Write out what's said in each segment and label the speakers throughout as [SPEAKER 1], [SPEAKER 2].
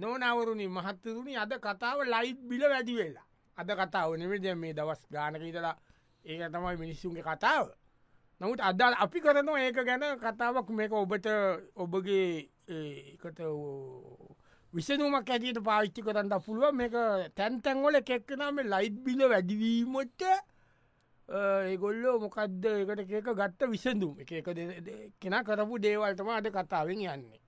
[SPEAKER 1] නොනවරුණි මහත්තතුනි අද කතාව ලයිට් බිල වැඩි වෙලා අද කතාව නිවිද මේ දවස් ගානකීතලා ඒක තමයි මිනිස්සුන්ගේ කතාව නමුත් අදල් අපි කරන ඒක ගැන කතාවක් මේක ඔබට ඔබගේ ඒකට විසනුමක් ඇතිට පාච්චි කරන්න පුළුව මේක තැන්තැන්වල කෙක්කනම ලයිට් බිල වැඩිවීමට ඒගොල්ලෝ මොකක්ද එකට ඒක ගත්ත විසඳුම් එක එක කෙන කරපු දේවල්තම අද කතාවෙන් යන්නේ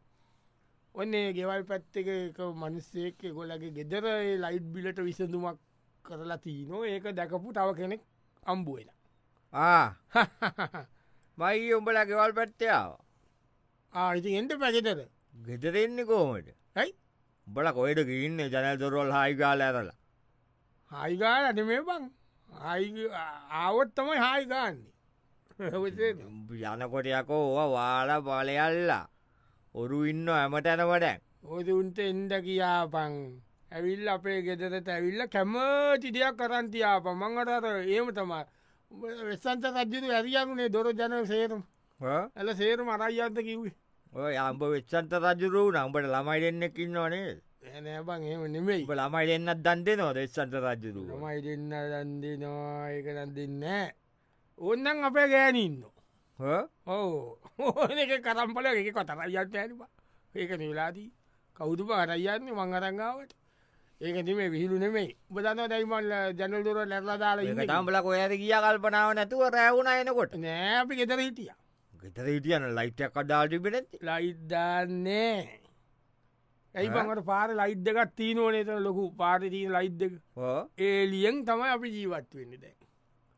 [SPEAKER 1] ඔන්නේ ගෙවල් පැත්තක එක මනුස්සේක ගොලගේ ගෙදර ලයිට් බිලට විසඳුමක් කරලා තියනෝ ඒක දැකපු තව කෙනෙක් අම්බුවෙන
[SPEAKER 2] ආ මයි උඹලා ගෙවල් පැත්තයාව
[SPEAKER 1] ආයිති එට පැගෙතද
[SPEAKER 2] ගෙදරෙන්නේ කෝමට
[SPEAKER 1] ඇයි
[SPEAKER 2] උඹල කොයට ගින්න ජනල් දොරවල් හායිකාල ඇරලා
[SPEAKER 1] හායිගාල අද මේ බං ආවොත් තමයි හායිගාන්නේ
[SPEAKER 2] යනකොට යකෝ ඕවා වාලා බලයල්ලා ඔරු ඉන්න ඇමට ඇනවඩැන්
[SPEAKER 1] හොද උන්ට එන්ද කියාපං ඇවිල් අපේ ගෙදරට ඇවිල්ල කැමති දෙයක් කරන්තියාපන් මංගටර ඒම තමා වෙස්සන්ත රජ්ජතු ඇරියරුණේ දොර ජන සේරුම් ඇල සේරුම් අරයියන්ත කිවේ
[SPEAKER 2] ඔය අම්ඹ වෙච්චන්ත රජුරු නම්බට ළමයි දෙන්නෙක් ඉන්නවානේ
[SPEAKER 1] එනෑබං ඒම නෙමෙයි
[SPEAKER 2] උඹ ළමයි දෙන්නත් දන්දේ නො දෙස්සන්ත රජුරු
[SPEAKER 1] මයි දෙන්න දන්දි නොඒක දන්දින්න ඔන්නන් අපේ ගෑනඉන්න ඕ ඕන එක කරම්පල එක කොතර යත් ඇනවා ඒක නිලාදී කෞුදු පරයන්න මං අරංගාවට ඒක තිමේ විහිලු නෙමේ බදන්න දැයිමල් ජනල්දුර නැරලා දාලා ඉන්න
[SPEAKER 2] තම්බල කොයට ගිය කල්පනාව නැතුව රැවුණ එනකොට
[SPEAKER 1] නෑ අපි ගෙතර හිටිය
[SPEAKER 2] ගෙතර හිටියන ලයිට්යක් කඩාටිපිට ඇති
[SPEAKER 1] ලයිද්දන්නේ ඇයි පඟට පාර ලයිද්දකත් තිීනෝනේත ලොකු පාරිතිී ලයිද්දක ඒලියෙන් තමයි අපි ජීවත් වෙන්න දැ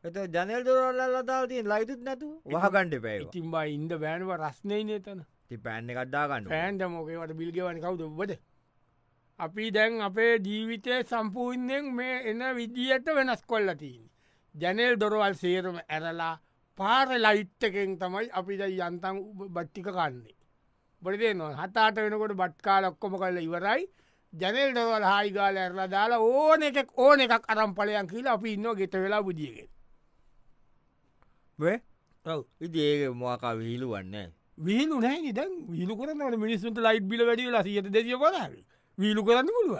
[SPEAKER 2] එත ජනල් දොරල්ලතාවතින් ලයිතුත් නැතු වහගණ්ඩ පැයි
[SPEAKER 1] ඉතින් බයි ඉන්ද බෑනව රස්නය නේතන
[SPEAKER 2] ති පැන්න කඩ්ඩාගන්න
[SPEAKER 1] පෑන්ට මොකේවට බිල්ගවන කවුද ඔබද අපි දැන් අපේ ජීවිතය සම්පූර්ණයෙන් මේ එන විදිහට වෙනස් කොල්ල තියන් ජැනල් දොරවල් සේරම ඇරලා පාර ලයිට්ටකෙන් තමයි අපිට යන්තන් බට්ටික කන්නේ බොරිදේ නො හතාට වෙනකොට බට්කාල ඔක්කොම කල්ල ඉවරයි ජනල් දොරවල් හායිගාල ඇරලා දාලා ඕන එකක් ඕන එකක් අරම් පලයන් කියලා අපි ඉන්න ගෙත වෙලා බුදියගෙන
[SPEAKER 2] ඉති ඒක මකා විහිලු වන්නේ
[SPEAKER 1] වීලු නෑ දැන් වීලු කරන්න මිනිස්සුන්ට ලයිට් බිල වැඩිලා සියට දෙදිය පොදාව වීලු කරන්න පුළුව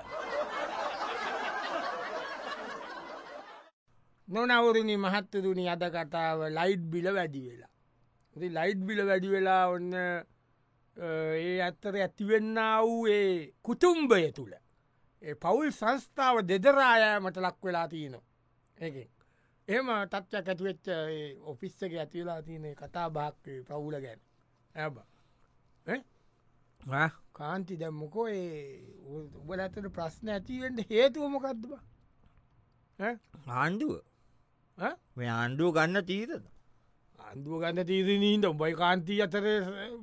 [SPEAKER 1] නොනවරණ මහත්තතුනි අද කතාව ලයිට් බිල වැඩි වෙලා ඉතින් ලයිට් බිල වැඩි වෙලා ඔන්න ඒ අත්තර ඇතිවෙන්න වූ ඒ කුතුම්බය තුළ ඒ පවුල් සංස්ථාව දෙදරායෑමට ලක් වෙලා තියනවා ඒ එම තත්ත්යක් ඇතිවෙච්ච ඒ ඔෆිස්සක ඇතිවෙලා තියනේ කතා භාක් පවුල ගැන ඇබ කාන්ති දැම්මකෝ ඒ උබලඇතට ප්‍රශ්න ඇතිවෙන්ට හේතුවමකක්දබ
[SPEAKER 2] ආණ්ඩුව මේ ආණ්ඩුව ගන්න තීරද
[SPEAKER 1] අන්දුව ගන්න තීරණීන්ට උඹයි කාන්තී අතර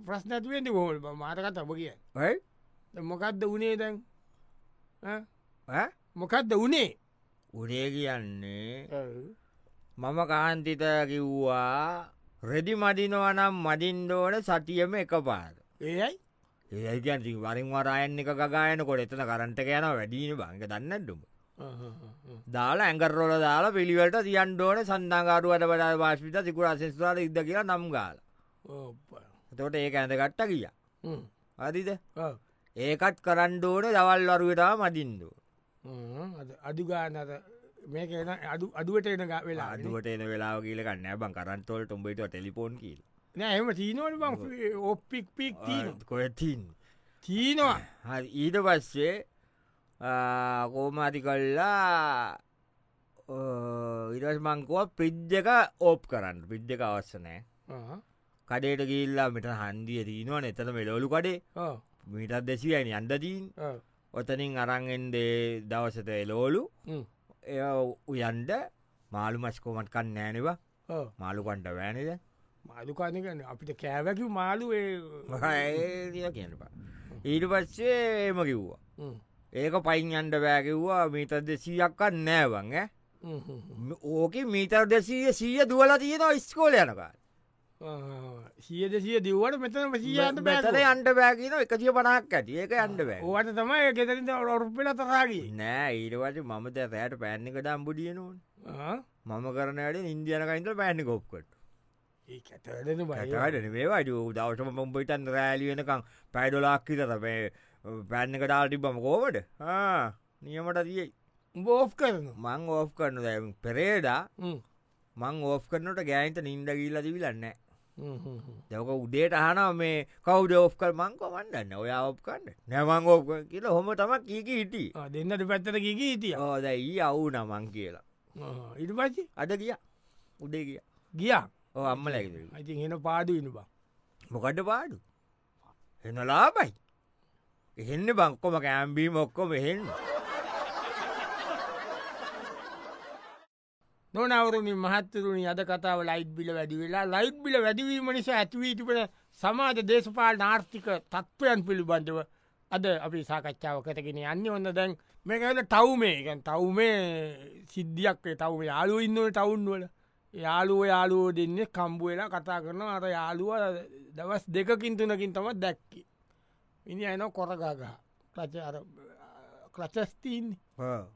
[SPEAKER 1] ප්‍රශ්න ඇතිවෙන්ට හොල් මාරකත් ඔබ කිය
[SPEAKER 2] යි
[SPEAKER 1] මොකක්ද වනේ දැන් මොකක්ද වනේ
[SPEAKER 2] උරේ කියන්නේ මම කාන්තිත කිව්වා රෙදි මඩිනවනම් මඩින්ඩෝන සටියම එක පාද
[SPEAKER 1] ඒයි
[SPEAKER 2] ඒකන්ති වරින් වරායන් එක ගායනකොට එතන කරන්ට යන වැඩීන බංග දන්නටුම දාලා ඇඟරෝල දාලා පිළිවලට තියන්ඩෝන සන්නාගාරුවට වඩා වාශිත සිකුර අසෙස්වාල ඉද කියලා නම් ගාල තොට ඒක ඇඳගට්ට කිය අරිද ඒකත් කරන්්ඩෝන දවල්වරුවටා මඩින්ඩෝ
[SPEAKER 1] අඩුගානර මේක එන අඩු අඩුවට එන ග වෙලා
[SPEAKER 2] අදුවට එන වෙලා කියලකන්න බං කරන්තොල්ට උඹට ටෙලිපෝන් කියල
[SPEAKER 1] නෑම චීනවට බං ඔප්පික් පික්
[SPEAKER 2] කොයතින්
[SPEAKER 1] චීනවා
[SPEAKER 2] හරි ඊට පස්සේ කෝමාති කල්ලා ඉරස් මංකුව පිද්ජක ඕප් කරන්න පිද්ජක අවස්සනෑ කඩේට ගිල්ලා මෙට හන්දිිය දීනවා එතන මෙලෝලු කඩේ
[SPEAKER 1] ආ,
[SPEAKER 2] මිටත් දෙසියයි අන්දදීන්
[SPEAKER 1] ආ,
[SPEAKER 2] ඔතනින් අරංගෙන්දේ දවසත එලෝලු
[SPEAKER 1] හ්ම්,
[SPEAKER 2] එය උයන්ඩ මාළු මස්කෝමට කන්න නෑනවා
[SPEAKER 1] ආ.
[SPEAKER 2] මාළුකන්ට වැෑනද
[SPEAKER 1] මාළුකානකන අපිට කෑවැකි මාළුවේ
[SPEAKER 2] කියනපා ඊට පස්සේ ඒම කිව්වා ඒක පයින් අන්ඩ බෑකිව්වා මීතර දෙසීයක්ක නෑවං ඈ. ම- ඕක මීතර දෙසීය සීය දුවල තියෙනවා ඉස්කෝල යනකා
[SPEAKER 1] සියද සිය දිව්වට මෙතන සියන්ත
[SPEAKER 2] බැතර
[SPEAKER 1] බැතර
[SPEAKER 2] අන්ඩ බෑකින එකතිය පනක් ඇති ඒක අන්ඩ බෑ
[SPEAKER 1] ඕට තමයි ගෙතරින්ට ඔරුපිල තරාගී
[SPEAKER 2] නෑ ඊටවට මම දැ රෑට පැන්නික දම්බුඩියනුවන් මම කරන වැඩ ඉන්දියනකයින්ට පැන්න කොප්කට
[SPEAKER 1] ඒ ඇතරෙන බයි
[SPEAKER 2] ඇටට මේවාඩ දවටම පොම්පිටන් රෑලිවෙනකම් පැඩොලාක්කිත තබේ පැන්නක ඩාල්ටි බම කෝවට නියමට තියයි
[SPEAKER 1] බෝ් කරනවා
[SPEAKER 2] මං ඕෆ් කරනු දැ පෙරේඩා
[SPEAKER 1] හ්ම්.
[SPEAKER 2] මං ඕෆ් කරනට ගෑන්ත නින්ඩ ගීල්ල දිවිලන්න
[SPEAKER 1] හ්ම් හ්ම් හ්ම්.
[SPEAKER 2] දැක උදේට අහන මේ කවුඩ ඔෆ් කල් මංකෝ වන්නන්න ඔය ඔප් කන්න නැමං ඕප් කියල හොම තමක් කීක හිටි
[SPEAKER 1] ආ, දෙන්නට පැත්තට ගිගී හිටිය
[SPEAKER 2] ඕද ඒ අවු නමං කියලා
[SPEAKER 1] ඉට පච්චි
[SPEAKER 2] අද කිය උදේ කිය
[SPEAKER 1] ගියා
[SPEAKER 2] ඕ අම්ම ලැකිද
[SPEAKER 1] ඉතින් එන පාඩු ඉන්න බා
[SPEAKER 2] මොකඩ පාඩු එන ලාබයි එහෙන්න බංකොම කෑම්බී මොක්කොම එහෙන්න
[SPEAKER 1] නොනවරුණි මහත්තරුණි අද කතාව ලයිට් බිල වැඩි වෙලා ලයිට් බිල වැඩවීම නිසා ඇතිවීතිපට සමාජ දේශපාල නාර්ථික තත්ත්වයන් පිළිබඳව අද අපි සාකච්ඡාව කටගෙන යන්න ඔන්න දැන් මේකද තවුමේ ගැන් තවුමේ සිද්ධියක් තව යාලු ඉන්නව ටවුන්වල යාලුව යාලුවෝ දෙන්න කම්බුවෙලා කතා කරන අර යාලුව දවස් දෙකකින් තුනකින් තම දැක්කි. ඉනි අයන කොරගගහ ක්‍රච ක්‍රචස්තීන්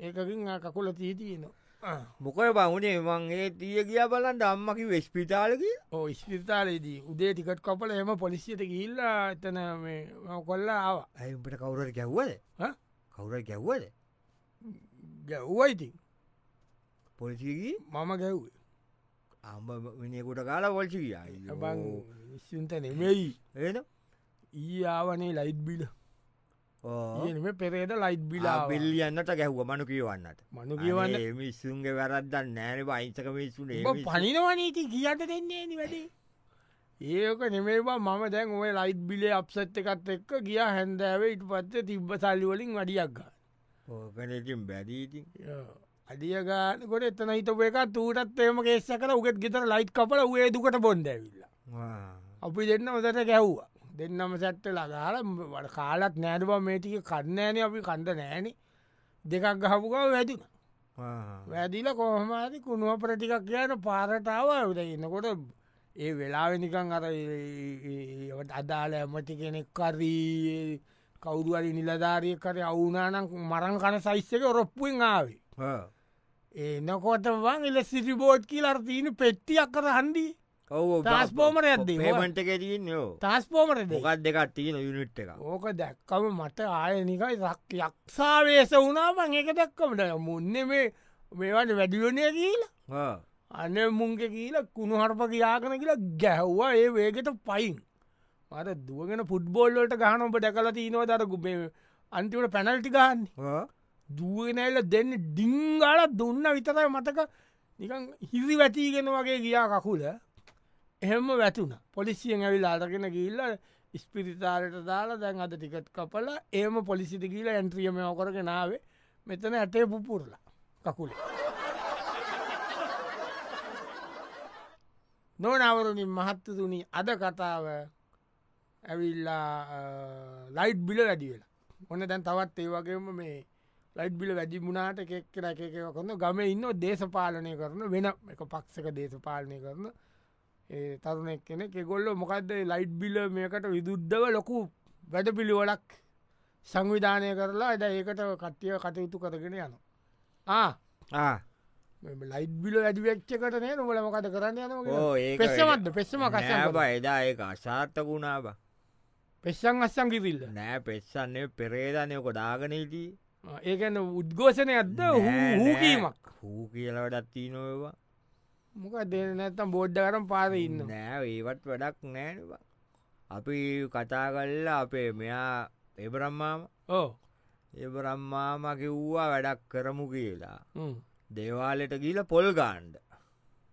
[SPEAKER 1] ඒකින් ආ කකුල තීතියනවා.
[SPEAKER 2] මොකය බංුණේ මංගේ තිය කිය බලන් දම්මකි වෙස්පිතාලක
[SPEAKER 1] ඕ ස්පිරිතාලයේදී උදේ ටිකට් කපල එම පොලිසියට ගිල්ල එතන මේ මම කොල්ලා ආව
[SPEAKER 2] ඇයිට කවුරට ගැව්වද
[SPEAKER 1] ඈ?
[SPEAKER 2] කවුරට ගැව්වද
[SPEAKER 1] ගැව්වයිතින්
[SPEAKER 2] පොලිසිකි
[SPEAKER 1] මම ගැව්ේ
[SPEAKER 2] අම්බ විනිකුට කාලා පොල්චි කිය
[SPEAKER 1] බං නිස්සුන්ත නෙමෙයි
[SPEAKER 2] එන
[SPEAKER 1] ඊ ආවනේ ලයිට් බිල ඒම පෙරේද ලයිට්
[SPEAKER 2] බිලා
[SPEAKER 1] බිලා
[SPEAKER 2] පිල්ලියන්නට ගැහ්ව මනු කියවන්නට
[SPEAKER 1] මනු කියවන්න
[SPEAKER 2] මිස්සුන්ගේ වැරද්දන්න නෑන පයිංසක
[SPEAKER 1] උඹ
[SPEAKER 2] මිස්සුනේ
[SPEAKER 1] පනිනවනීති කියන්න දෙන්නේ නි වැඩේ ඒක නෙමේවා මම දැන් ඔය ලයිට් බිලේ අප්සට් එකත් එක්ක ගිය හැන්දෑව ඉට පත්ත තිබ්බ සල්ලිවලින් වඩියක් ගන්න
[SPEAKER 2] ඕකනටින් බැදීතින්
[SPEAKER 1] අඩිය ගානකොට එතන හිතපු එක තූටත් එම කේෂ කල උගෙත් ගෙතර ලයිට් කපල ේ දුකට බොන්ඩ ඇවිල්ලා අපි දෙන්න ඔදට ගැව්වා දෙන්නම සැට්ට ලගාල වට කාලත් නෑඩවා මේටික කන්නෑන අපි කණ්ඩ නෑන දෙකක් ගහපුකව වැදුන වැදිල කොහමරි කුණුව ප්‍රටිකක් කියන පාරටාව ඇවද එන්නකොට ඒ වෙලාවෙනිකං අර ඒට අදාල ඇමටි කෙනෙක් කරී කවුරුවරි නිලධාරය කර අවුනානං මරං කන සයිස්සක රොප්පුෙන් ආවේ එනකොට වන් එල සිරිබෝඩ් කියලර තියන පෙට්ටියක් කර හන්දී
[SPEAKER 2] ඔව
[SPEAKER 1] ට්‍රාන්ස්ෆෝමරයක් දෙනවා.
[SPEAKER 2] පේමට එකතින්න යෝ
[SPEAKER 1] ටස්පෝමටද
[SPEAKER 2] මොකක් දෙකක් තියෙන යුනිට් එක
[SPEAKER 1] ඕක දැක්කම මට ආයනිකයි රක් යක්ෂාවේශ වුණාමං එක දැක්කමට මුන්න මේ මේවට වැඩියෝනය කියීල
[SPEAKER 2] ආ.
[SPEAKER 1] අන මුන්ක කියීල කුණු හරප කියාගෙන කියලා ගැහ්වා ඒ වේගෙට පයින් මට දුවගෙන පුඩ්බෝල්ලට ගහන ඔබ දැකල තියනවා දරකුබේ අන්තිවට පැනල්ටි ගන්න
[SPEAKER 2] ආ.
[SPEAKER 1] දුවනැල්ල දෙන්න ඩිංගාල දුන්න විතරයි මතක නිකන් හිරි වැටීගෙන වගේ ගියා කකුල එහෙම වැටුණ පොලිසියෙන් ඇවිල් අරගෙන ගිල්ල ස්පිරිතාලට දාලා දැන් අද ටිකට් කපල ඒම පොලිසිට කියීල ඇන්ත්‍රියම ඕකරගෙනාවේ මෙතන ඇටේ පුපුරලා කකුලේ නොනවරුණින් මහත්තතුනි අද කතාව ඇවිල්ලා ලයිට් බිල වැඩි වෙලා ඔන්න දැන් තවත් ඒ වගේම මේ ලයිට් බිල වැඩි මුණට එකෙක්කර එකකව කරන ගම ඉන්න දේශපාලනය කරන වෙන එක පක්ෂක දේශපාලනය කරන ඒ තරුණෙක් කෙන කෙගොල්ල මොකක්ද ලයිට් බිල මේකට විදුද්ධව ලොකු වැඩ පිළිවලක් සංවිධානය කරලා එද ඒකට කට්ටිය කටයුතු කරගෙන යන ආ
[SPEAKER 2] ආ.
[SPEAKER 1] ලයිට් බිල වැඩි වෙච්චකට නේ නොල මොකද කරන්න යන
[SPEAKER 2] ඕ ඒක
[SPEAKER 1] පෙස්සමත්ද පෙස්සම
[SPEAKER 2] නෑ
[SPEAKER 1] කස
[SPEAKER 2] බා, එදා ඒක අසාර්ථකුණාව
[SPEAKER 1] පෙස්සන් අස්සන් කිවිල්ල
[SPEAKER 2] නෑ පෙස්සන්නේ පෙරේධනයක දාගනීදී
[SPEAKER 1] ඒකන්න උද්ගෝෂණය ඇද හූකීමක්
[SPEAKER 2] හූ කියලවටත් තිීනොවා
[SPEAKER 1] මොක දෙන නැත්තම් බෝඩ්ඩ කරම් පාර ඉන්න
[SPEAKER 2] නෑ ඒවත් වැඩක් නෑනවා අපි කතා කල්ලා අපේ මෙයා එබරම්මාම
[SPEAKER 1] ඕ
[SPEAKER 2] එබරම්මාම කිව්වා වැඩක් කරමු කියලා
[SPEAKER 1] හ්ම්.
[SPEAKER 2] දේවාලෙට ගීල පොල් ගාන්්ඩ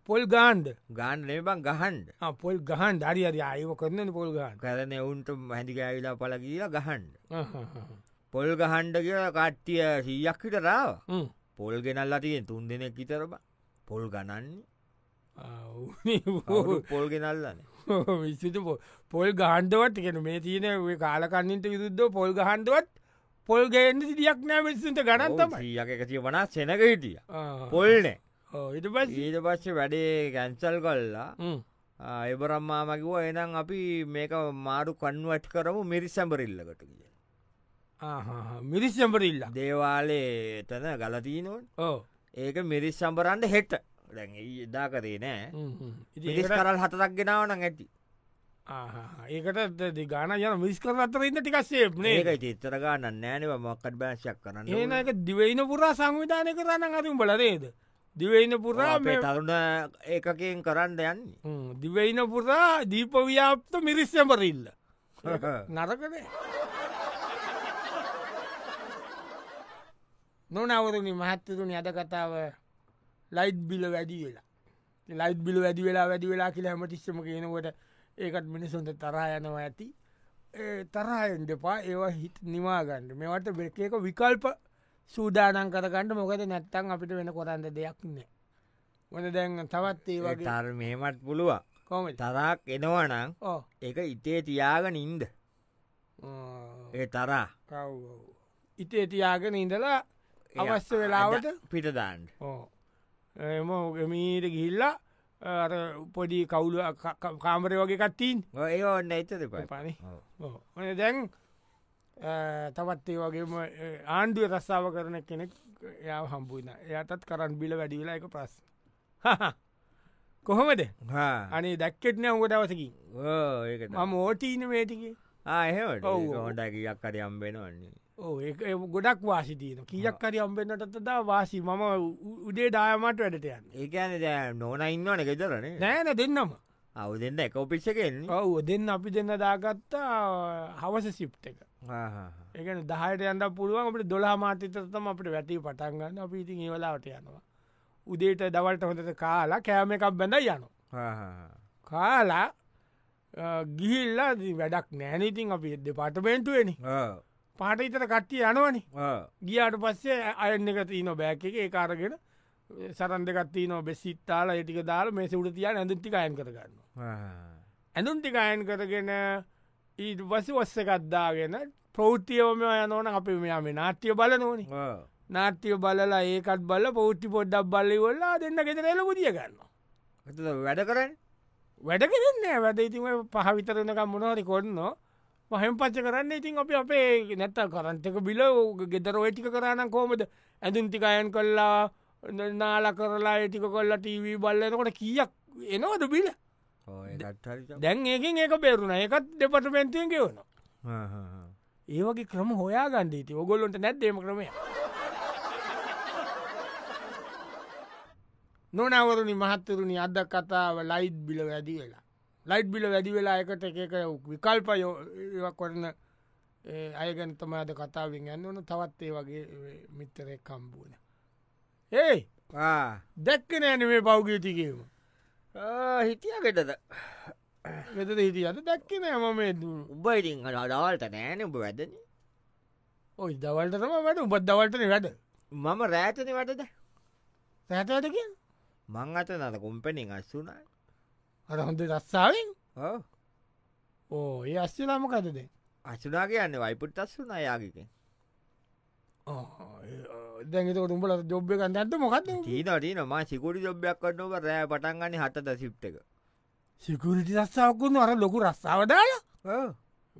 [SPEAKER 1] පොල් ගාන්්ඩ
[SPEAKER 2] ගාන්ඩ එබං ගහන්ඩ
[SPEAKER 1] පොල් ගහන් ධරි අරි අයව කරන්න පොල් ගාන්ඩ
[SPEAKER 2] කරන එවුන්ට හැඳිකඇවිලා පල කියලා ගහන්ඩ පොල් ගහන්ඩ කියලා කට්ටිය සීයක්කිට රාව පොල් ගෙනල්ලා තියෙන් තුන් දෙනෙක් ඉතරබ පොල් ගණන්නේ කවුරුත් පොල් ගෙනල්ලන
[SPEAKER 1] විසිතු පොල් ගහන්ඩවත් එකෙන මේ තියන කාලකන්නින්ට විදුද්ධ පොල් ගහන්ඩුවත් පොල් ගේන්න සිදියක් නෑ විසුන්ට ගනන්තමයි
[SPEAKER 2] ීයක එකතිය වනා සෙනක හිටිය පොල්නෑ
[SPEAKER 1] ඉට පස්
[SPEAKER 2] ඊට පස්සේ වැඩේ ගැන්සල් කල්ලා එබරම්මා මකිව එනම් අපි මේක මාරු කන්ුවට කරමු මිරි සැඹරිල්ලකට කිය
[SPEAKER 1] මිරිස් සැපරඉල්ලා
[SPEAKER 2] දේවාලේ එතන ගලතිීනොන්
[SPEAKER 1] ඕ
[SPEAKER 2] ඒක මිරිස් සම්බරන්ඩ හෙට දැන් එදා කරේ නෑ
[SPEAKER 1] ඉ
[SPEAKER 2] මිරිස් කරල් හතක් ගෙනාවන ඇති
[SPEAKER 1] ඒකට ගාන යන මිස් කරතරන්න ටිකක් සේප්නේ
[SPEAKER 2] ඒක චිත්තර ගන්න නෑනව මොක්කට බෑශක් කරන්න
[SPEAKER 1] ඒන එක දිවයින පුරා සංවිධානය කරන්න අරුම් බලරේද දිවයින පුරා
[SPEAKER 2] අපේ තරුණ ඒකකින් කරන්න යන්නේ
[SPEAKER 1] හ්ම්, දිවයින පුරා දීපව්‍යාප්ත මිරිස්සැපරඉල්ල නරකනේ නොනවරුණි මහත්තතුනි අද කතාව ලයිට් බිල වැඩි වෙලා ලයිට් බිල වැඩි වෙලා වැඩි වෙලා කියලා හැමටිස්සම කියනකොට ඒකත් මිනිසුන්ට තරා යනවා ඇති ඒ තරායෙන් දෙපා ඒවා හිත් නිවාගන්න මෙවට බෙකක විකල්ප සූදානන් කරගන්නට මොකද නැත්තන් අපිට වෙන කොරන්න දෙයක් නෑ මොන දැන් තවත් ඒ වගේ
[SPEAKER 2] තර මෙහෙමත් පුළුව
[SPEAKER 1] කොමට
[SPEAKER 2] තරක් එනවනම්
[SPEAKER 1] ඕ
[SPEAKER 2] එක ඉතේ තියාගෙන ඉන්ද ඒ තරා
[SPEAKER 1] කව් ඉතේ තියාගෙන ඉඳලා
[SPEAKER 2] ඒ
[SPEAKER 1] අවස්්‍ය
[SPEAKER 2] අද
[SPEAKER 1] වෙලාවට
[SPEAKER 2] පිටදාන්න
[SPEAKER 1] එම ගමීට ගිහිල්ලා අර පොඩි කවුල කාමරය වගේ කත්තිීන්
[SPEAKER 2] ඒ ඔන්න එත දෙප
[SPEAKER 1] පනි ඕන දැන් අ, තවත් ඒ වගේම අ, ආණ්ඩුව රස්සාාව කරන කෙනෙක් යා හම්බුන එයටත් කරන්න බිල වැඩිවෙලා එක ප්‍රස් කොහොමද අනේ දැක්කෙටන උග දවසකින්
[SPEAKER 2] ඒක
[SPEAKER 1] මම ඕටීන වේටිකේ
[SPEAKER 2] ආහෙට
[SPEAKER 1] ඔව්, ඔව්.
[SPEAKER 2] හොට කියක් කර අම්බෙනවන්නේ
[SPEAKER 1] ඕ ඒ ඒ ගොඩක් වාසිතියන කියක් කරි අම්බෙන්න්නටතදා වාසි මම උ- උදේ දායමට වැඩට යන්න
[SPEAKER 2] ඒකන දෑ නොන ඉන්නවන එකෙතරන
[SPEAKER 1] නෑන දෙන්නම
[SPEAKER 2] අව දෙන්න එක ඔපිච්චකෙන්නේ
[SPEAKER 1] ඔව දෙන්න අපි දෙන්න දාගත්තා හවස සිප් එක එකන දහයට යන්න පුළුවන් අපට දොලා මාතිතතම අපට වැටි පටන්ගන්න අපි ඉතින් ඒවලාවට යනවා උදේට දවල්ට හොඳට කාලා කෑම එකක් බැඳ යන කාලා අ, ගිහිල්ලා ඉතින් වැඩක් නෑනීතින් අපි එද පාටමේන්ටුවනි පාට ඉතර කට්ටිය යනවනි ගියාට පස්සේ අයන්න එක තියන බෑක එක ඒකාරගෙන සරන් දෙකත්ති නො බෙසිත්තාලා ඒටික දාල මේ සුට තියා ඇඳුන්ටි අයන් කරගන්න ඇඳුන්ටි අයන් කරගෙන ඊට පස ඔස්ස එකත්දාගෙන ප්‍රෞතියෝම යනෝන අපි මෙයා මේ නාට්‍යය බල නොනි නාට්‍යය බලලා ඒකත් බල පෞට්ටි පොඩ්ඩක් බලි වෙල්ලා දෙන්න ගෙතරල පුදිය ගන්න
[SPEAKER 2] වැඩ කරන්න
[SPEAKER 1] වැඩගෙනන්නේ වැඩ ඉතින් ඔය පහ විතරනක මොනහරි කොන්න මහෙම පච්ච කරන්න ඉතින් අපි අපේ නැත්ත කරන්තක බිල ගෙදර ඔයටික කරන්න කෝමද ඇඳුන්තිකයන් කල්ලා න- නාල කරලා ඒටික කොල්ලා ටීවී බල්ලනකොට කියක් එනවද බිල දැන් ඒකින් ඒක බේරුණ එකත් දෙපටමෙන්තුවෙන් ගෙවන ඒවගේ ක්‍රම හොයා ගන්ඩීති ඔගොල්ලොන්ට නැත්දේම ක්‍රමය නොනවරුණි මහත්තරුණි අද කතාව ලයිට් බිල වැඩි වෙලා ලයිට් බිල වැඩි වෙලා එකට එක එක විකල්ප යෝ- ඒවා කරන ඒ අයගැන තම අද කතාවෙන් යන්න ඕන තවත් ඒ වගේ මිත්තරය කම්බූන ඒ දැක්ක නෑන මේ පෞගීතිකීම
[SPEAKER 2] හිටියගෙටද
[SPEAKER 1] වෙත හිටිය අද දැක්ක නෑම මේ දුරු
[SPEAKER 2] උබයිටිං අඩවල්ට නෑන උඹ වැදන
[SPEAKER 1] ඔයි දවල්ට තම වැට උබත් දවල්ටන වැඩ
[SPEAKER 2] මම රෑතන වැටද
[SPEAKER 1] සැතටකින්
[SPEAKER 2] මං අත නද කොම්පනින් අස්සුනා
[SPEAKER 1] අර හොඳ රස්සාාවෙන් ඕ ඒ අස්සලාම කතද
[SPEAKER 2] අසුනා කියන්න වයිපුට් අස්සුන අයාගික
[SPEAKER 1] දැගත උඹල ජොබ්ය කන්න ඇත මොකක්ද
[SPEAKER 2] චීනටී නොමා සිකුරි ජොබ්යක් කන්නව රෑ පටන්ගන්න හටද සිප්ටක
[SPEAKER 1] සිකුරිටි රස්සාාවකුන් අර ලොකු රස්සාාවදාය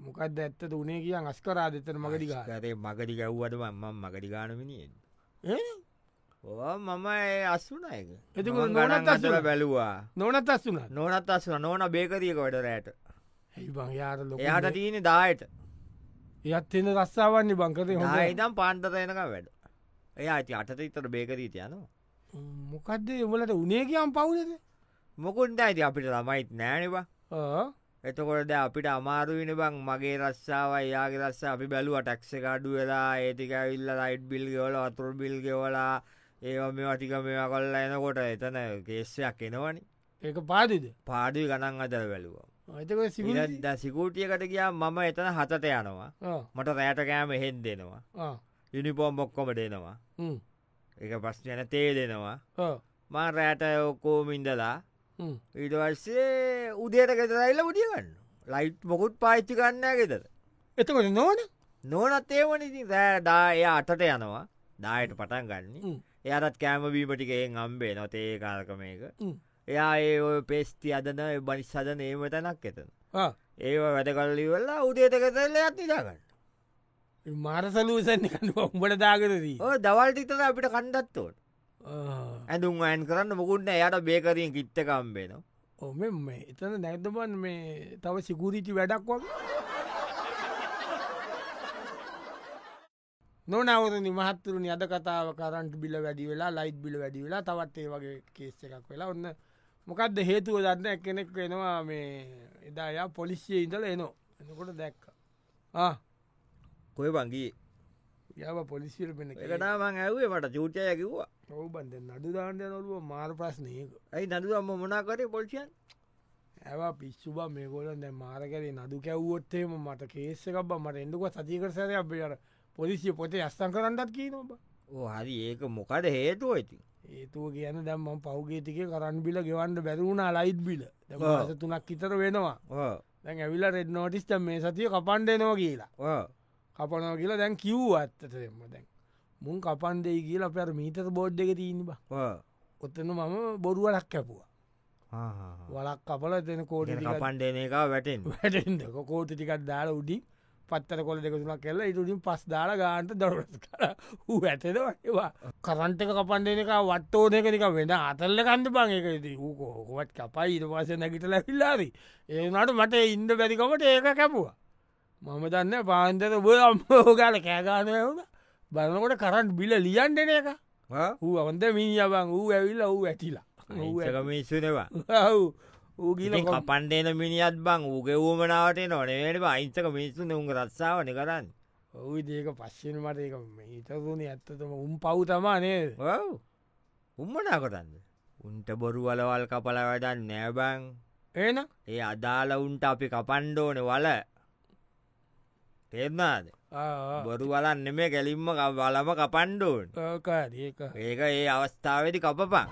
[SPEAKER 1] මොකක්ද ඇත්ත උනේ කියන් අස්කරා දෙතන මගඩි ගා
[SPEAKER 2] කරේ මගඩි ගැව්වට මම මගඩි ගානමිනියෙන්
[SPEAKER 1] ඒ?
[SPEAKER 2] ඕ මම ඒ අස්සුනයක
[SPEAKER 1] එතකොට නෝනත්
[SPEAKER 2] ගනන් අසල
[SPEAKER 1] අස්සුනා?
[SPEAKER 2] බැලවා
[SPEAKER 1] නොනත් අස්සුනත්
[SPEAKER 2] නොනත් අස්සුන නොන බේකරියක වැඩ රෑට
[SPEAKER 1] ඇයිබං යාර ලො
[SPEAKER 2] එයාට තියෙන දායට
[SPEAKER 1] යත්තින රස්සාාවන්නේ බංකරය හොයි
[SPEAKER 2] ආයිදම් පාන්තරයනක වැඩ එයා ඇති අටත ඉතර බේකරීට යනවා
[SPEAKER 1] මොකක්ද උඹලට උනේ කියම් පවුලද
[SPEAKER 2] මොකුන්ට ඇති අපිට ළමයිත් නෑනවා එතකොටද අපිට අමාරුවෙන බං මගේ රස්සාාව යාගේ රස්ස අපි බැලුව ටක්ස කාඩු වෙලා ඒතික ඉල්ල රයිට් බිල් ගවල අතුර බිල් ගෙවලා ඒවා මේ වටික මේවා කොල්ලා එනකොට එතන කේස්සයක් එනවනි
[SPEAKER 1] ඒක පාදිද
[SPEAKER 2] පාඩි ගණන් අදර වැලුවා
[SPEAKER 1] ඇතක සිවිල
[SPEAKER 2] ඉද සිකූටියකට ගියා මම එතන හතට යනවා මට රෑට කෑම එහෙන් දෙනවා යුනිපෝම් ඔක්කොම දෙනවා එක ප්‍රශ්නයන තේ දෙනවා මං රෑට ඔක්කෝමින්දලා ඊටවස්සේ උදේට ගෙතරයිල්ල උඩියගන්න ලයිට් මොකුත් පාච්චි කන්නෑ ගෙතර
[SPEAKER 1] එතකොට නොන
[SPEAKER 2] නොනත් ඒවන ඉතින් රෑඩා එය අටට යනවා දායට පටන් ගන්න
[SPEAKER 1] හ්ම්.
[SPEAKER 2] එයරත් කෑමබීමටිකෙන් අම්බේ නොතේ කාරකමයක
[SPEAKER 1] හ්ම්.
[SPEAKER 2] එයා ඒ ඔය පෙස්ති අදන බනිස් සදන ඒම තැනක් එතන ඒ වැඩකල්ලි වෙල්ලා උදේතකතල්ල අත්නිදාගන්න
[SPEAKER 1] මාරසලූසන්න කන්න උඹට දාගරදී
[SPEAKER 2] ඕ දවල්ටිතර අපිට කණ්ඩත්තෝට ඇඳුම් අයන් කරන්න මොකුන්න එයට බේකරින් කිට්ටකම්බේනවා
[SPEAKER 1] ඔම මේ එතන නැදබන් මේ තව සිකුරීටි වැඩක් වගේ නොනවර නිමහත්තුරුනි අද කතාව කරන්ට බිල වැඩි වෙලා ලයිට් බිල වැඩි වෙලා තවත් ඒ වගේ කේස්ස එකක් වෙලා ඔන්න මොකක්ද හේතුව දන්න එකනෙක් වෙනවා මේ එදායා පොලිසිය ඉඳල එනෝ එනකොට දැක්ක
[SPEAKER 2] කොය බංගේ
[SPEAKER 1] යව පොලිසිල් පෙන
[SPEAKER 2] එකටමං ඇවේ මට චූටය කිව්වා
[SPEAKER 1] ඔවබන්ද නඩු දාණ්ඩය නොලුව මාර ප්‍රශ්නයක
[SPEAKER 2] ඇයි නදුවම්ම මොනාකරේ පොල්චියන්
[SPEAKER 1] ඇව පිස්සුබ මේකොලන් දැ මාරකරේ නදු කැව්වොත්තේම මට කේස්සකක් බ මට එඩුක සතිකරසරය අපිට පොලිසිය පොතේ අස්සං කරන්නත් කිය නොබ
[SPEAKER 2] ඕ හරි ඒක මොකට හේතුව ඉතින්
[SPEAKER 1] ඒතුව කියන දැම්ම පෞගේතික කරන් බිල ගෙවන්ඩ බැරුණා ලයිට් බිල දැම
[SPEAKER 2] ආ.
[SPEAKER 1] අස තුනක් ඉතර වෙනවා
[SPEAKER 2] ඕ
[SPEAKER 1] දැන් ඇවිල රෙඩ් නෝටිස්ට මේ සතිය කපන්ඩනෝ කියලා
[SPEAKER 2] ඕ
[SPEAKER 1] කපනෝ කියලා දැන් කිව් අත්තතෙම දැන් මුන් කපන්දේ කියලා පැර මීතර බෝඩ් එක තිීන්බ
[SPEAKER 2] ඕ
[SPEAKER 1] ඔත්තන මම බොරුවලක් කැපුවා වලක් කපල එතන කෝඩ
[SPEAKER 2] කපන්ඩන එක වැටෙන්
[SPEAKER 1] වැටෙන්දක කෝටි ටිකක් දාලා උඩි පත්තර කොල දෙක තුනක් කෙල්ල ඉටුටින් පස් දාලා ගාන්ට දොරස් කර හූ ඇතද ඒවා කරන්ටක කපන්ඩන එක වත්තෝ දෙකනික වෙන අතල්ල කන්ද පං එකති හූකෝකොවත් කපයි ඉට පස නැගිට ලැවිල්ලාද ඒනට මට ඉන්ද බැරිකමට ඒක කැපුවා මම දන්න පාන්තර බ අම්මෝගල කෑගානය වුණ බලනකොට කරන්ට බිල ලියන්ටන එක හූ අවන්ද මිනිියබං වූ ඇවිල්ල වූ ඇතිලා ඌ ඇ-
[SPEAKER 2] මිස්සුනවා
[SPEAKER 1] ඔව්. ඌ ගිල කොම්-
[SPEAKER 2] කපන්ඩේන මිනිියත් බං ඌගේ ූමනාවට නොනවට අයිංසක මිස්සුන උන් රත්සාාවන කරන්න
[SPEAKER 1] ඔවු දේක පශ්චෙන් මට එක හිතරුණ ඇත්තතම උම් පව්තමා නේද
[SPEAKER 2] උම්මනා කොටන්න උන්ට බොරු වලවල් කපල වැඩන්න නෑබං
[SPEAKER 1] ඒන
[SPEAKER 2] ඒ අදාල උන්ට අපි කපන්්ඩෝන වල තෙරනාද බොරු වලන්න මේ ගැලින්ම වලම කපන්්ඩෝන්
[SPEAKER 1] ඒක
[SPEAKER 2] ඒක ඒ අවස්ථාවදි කපපා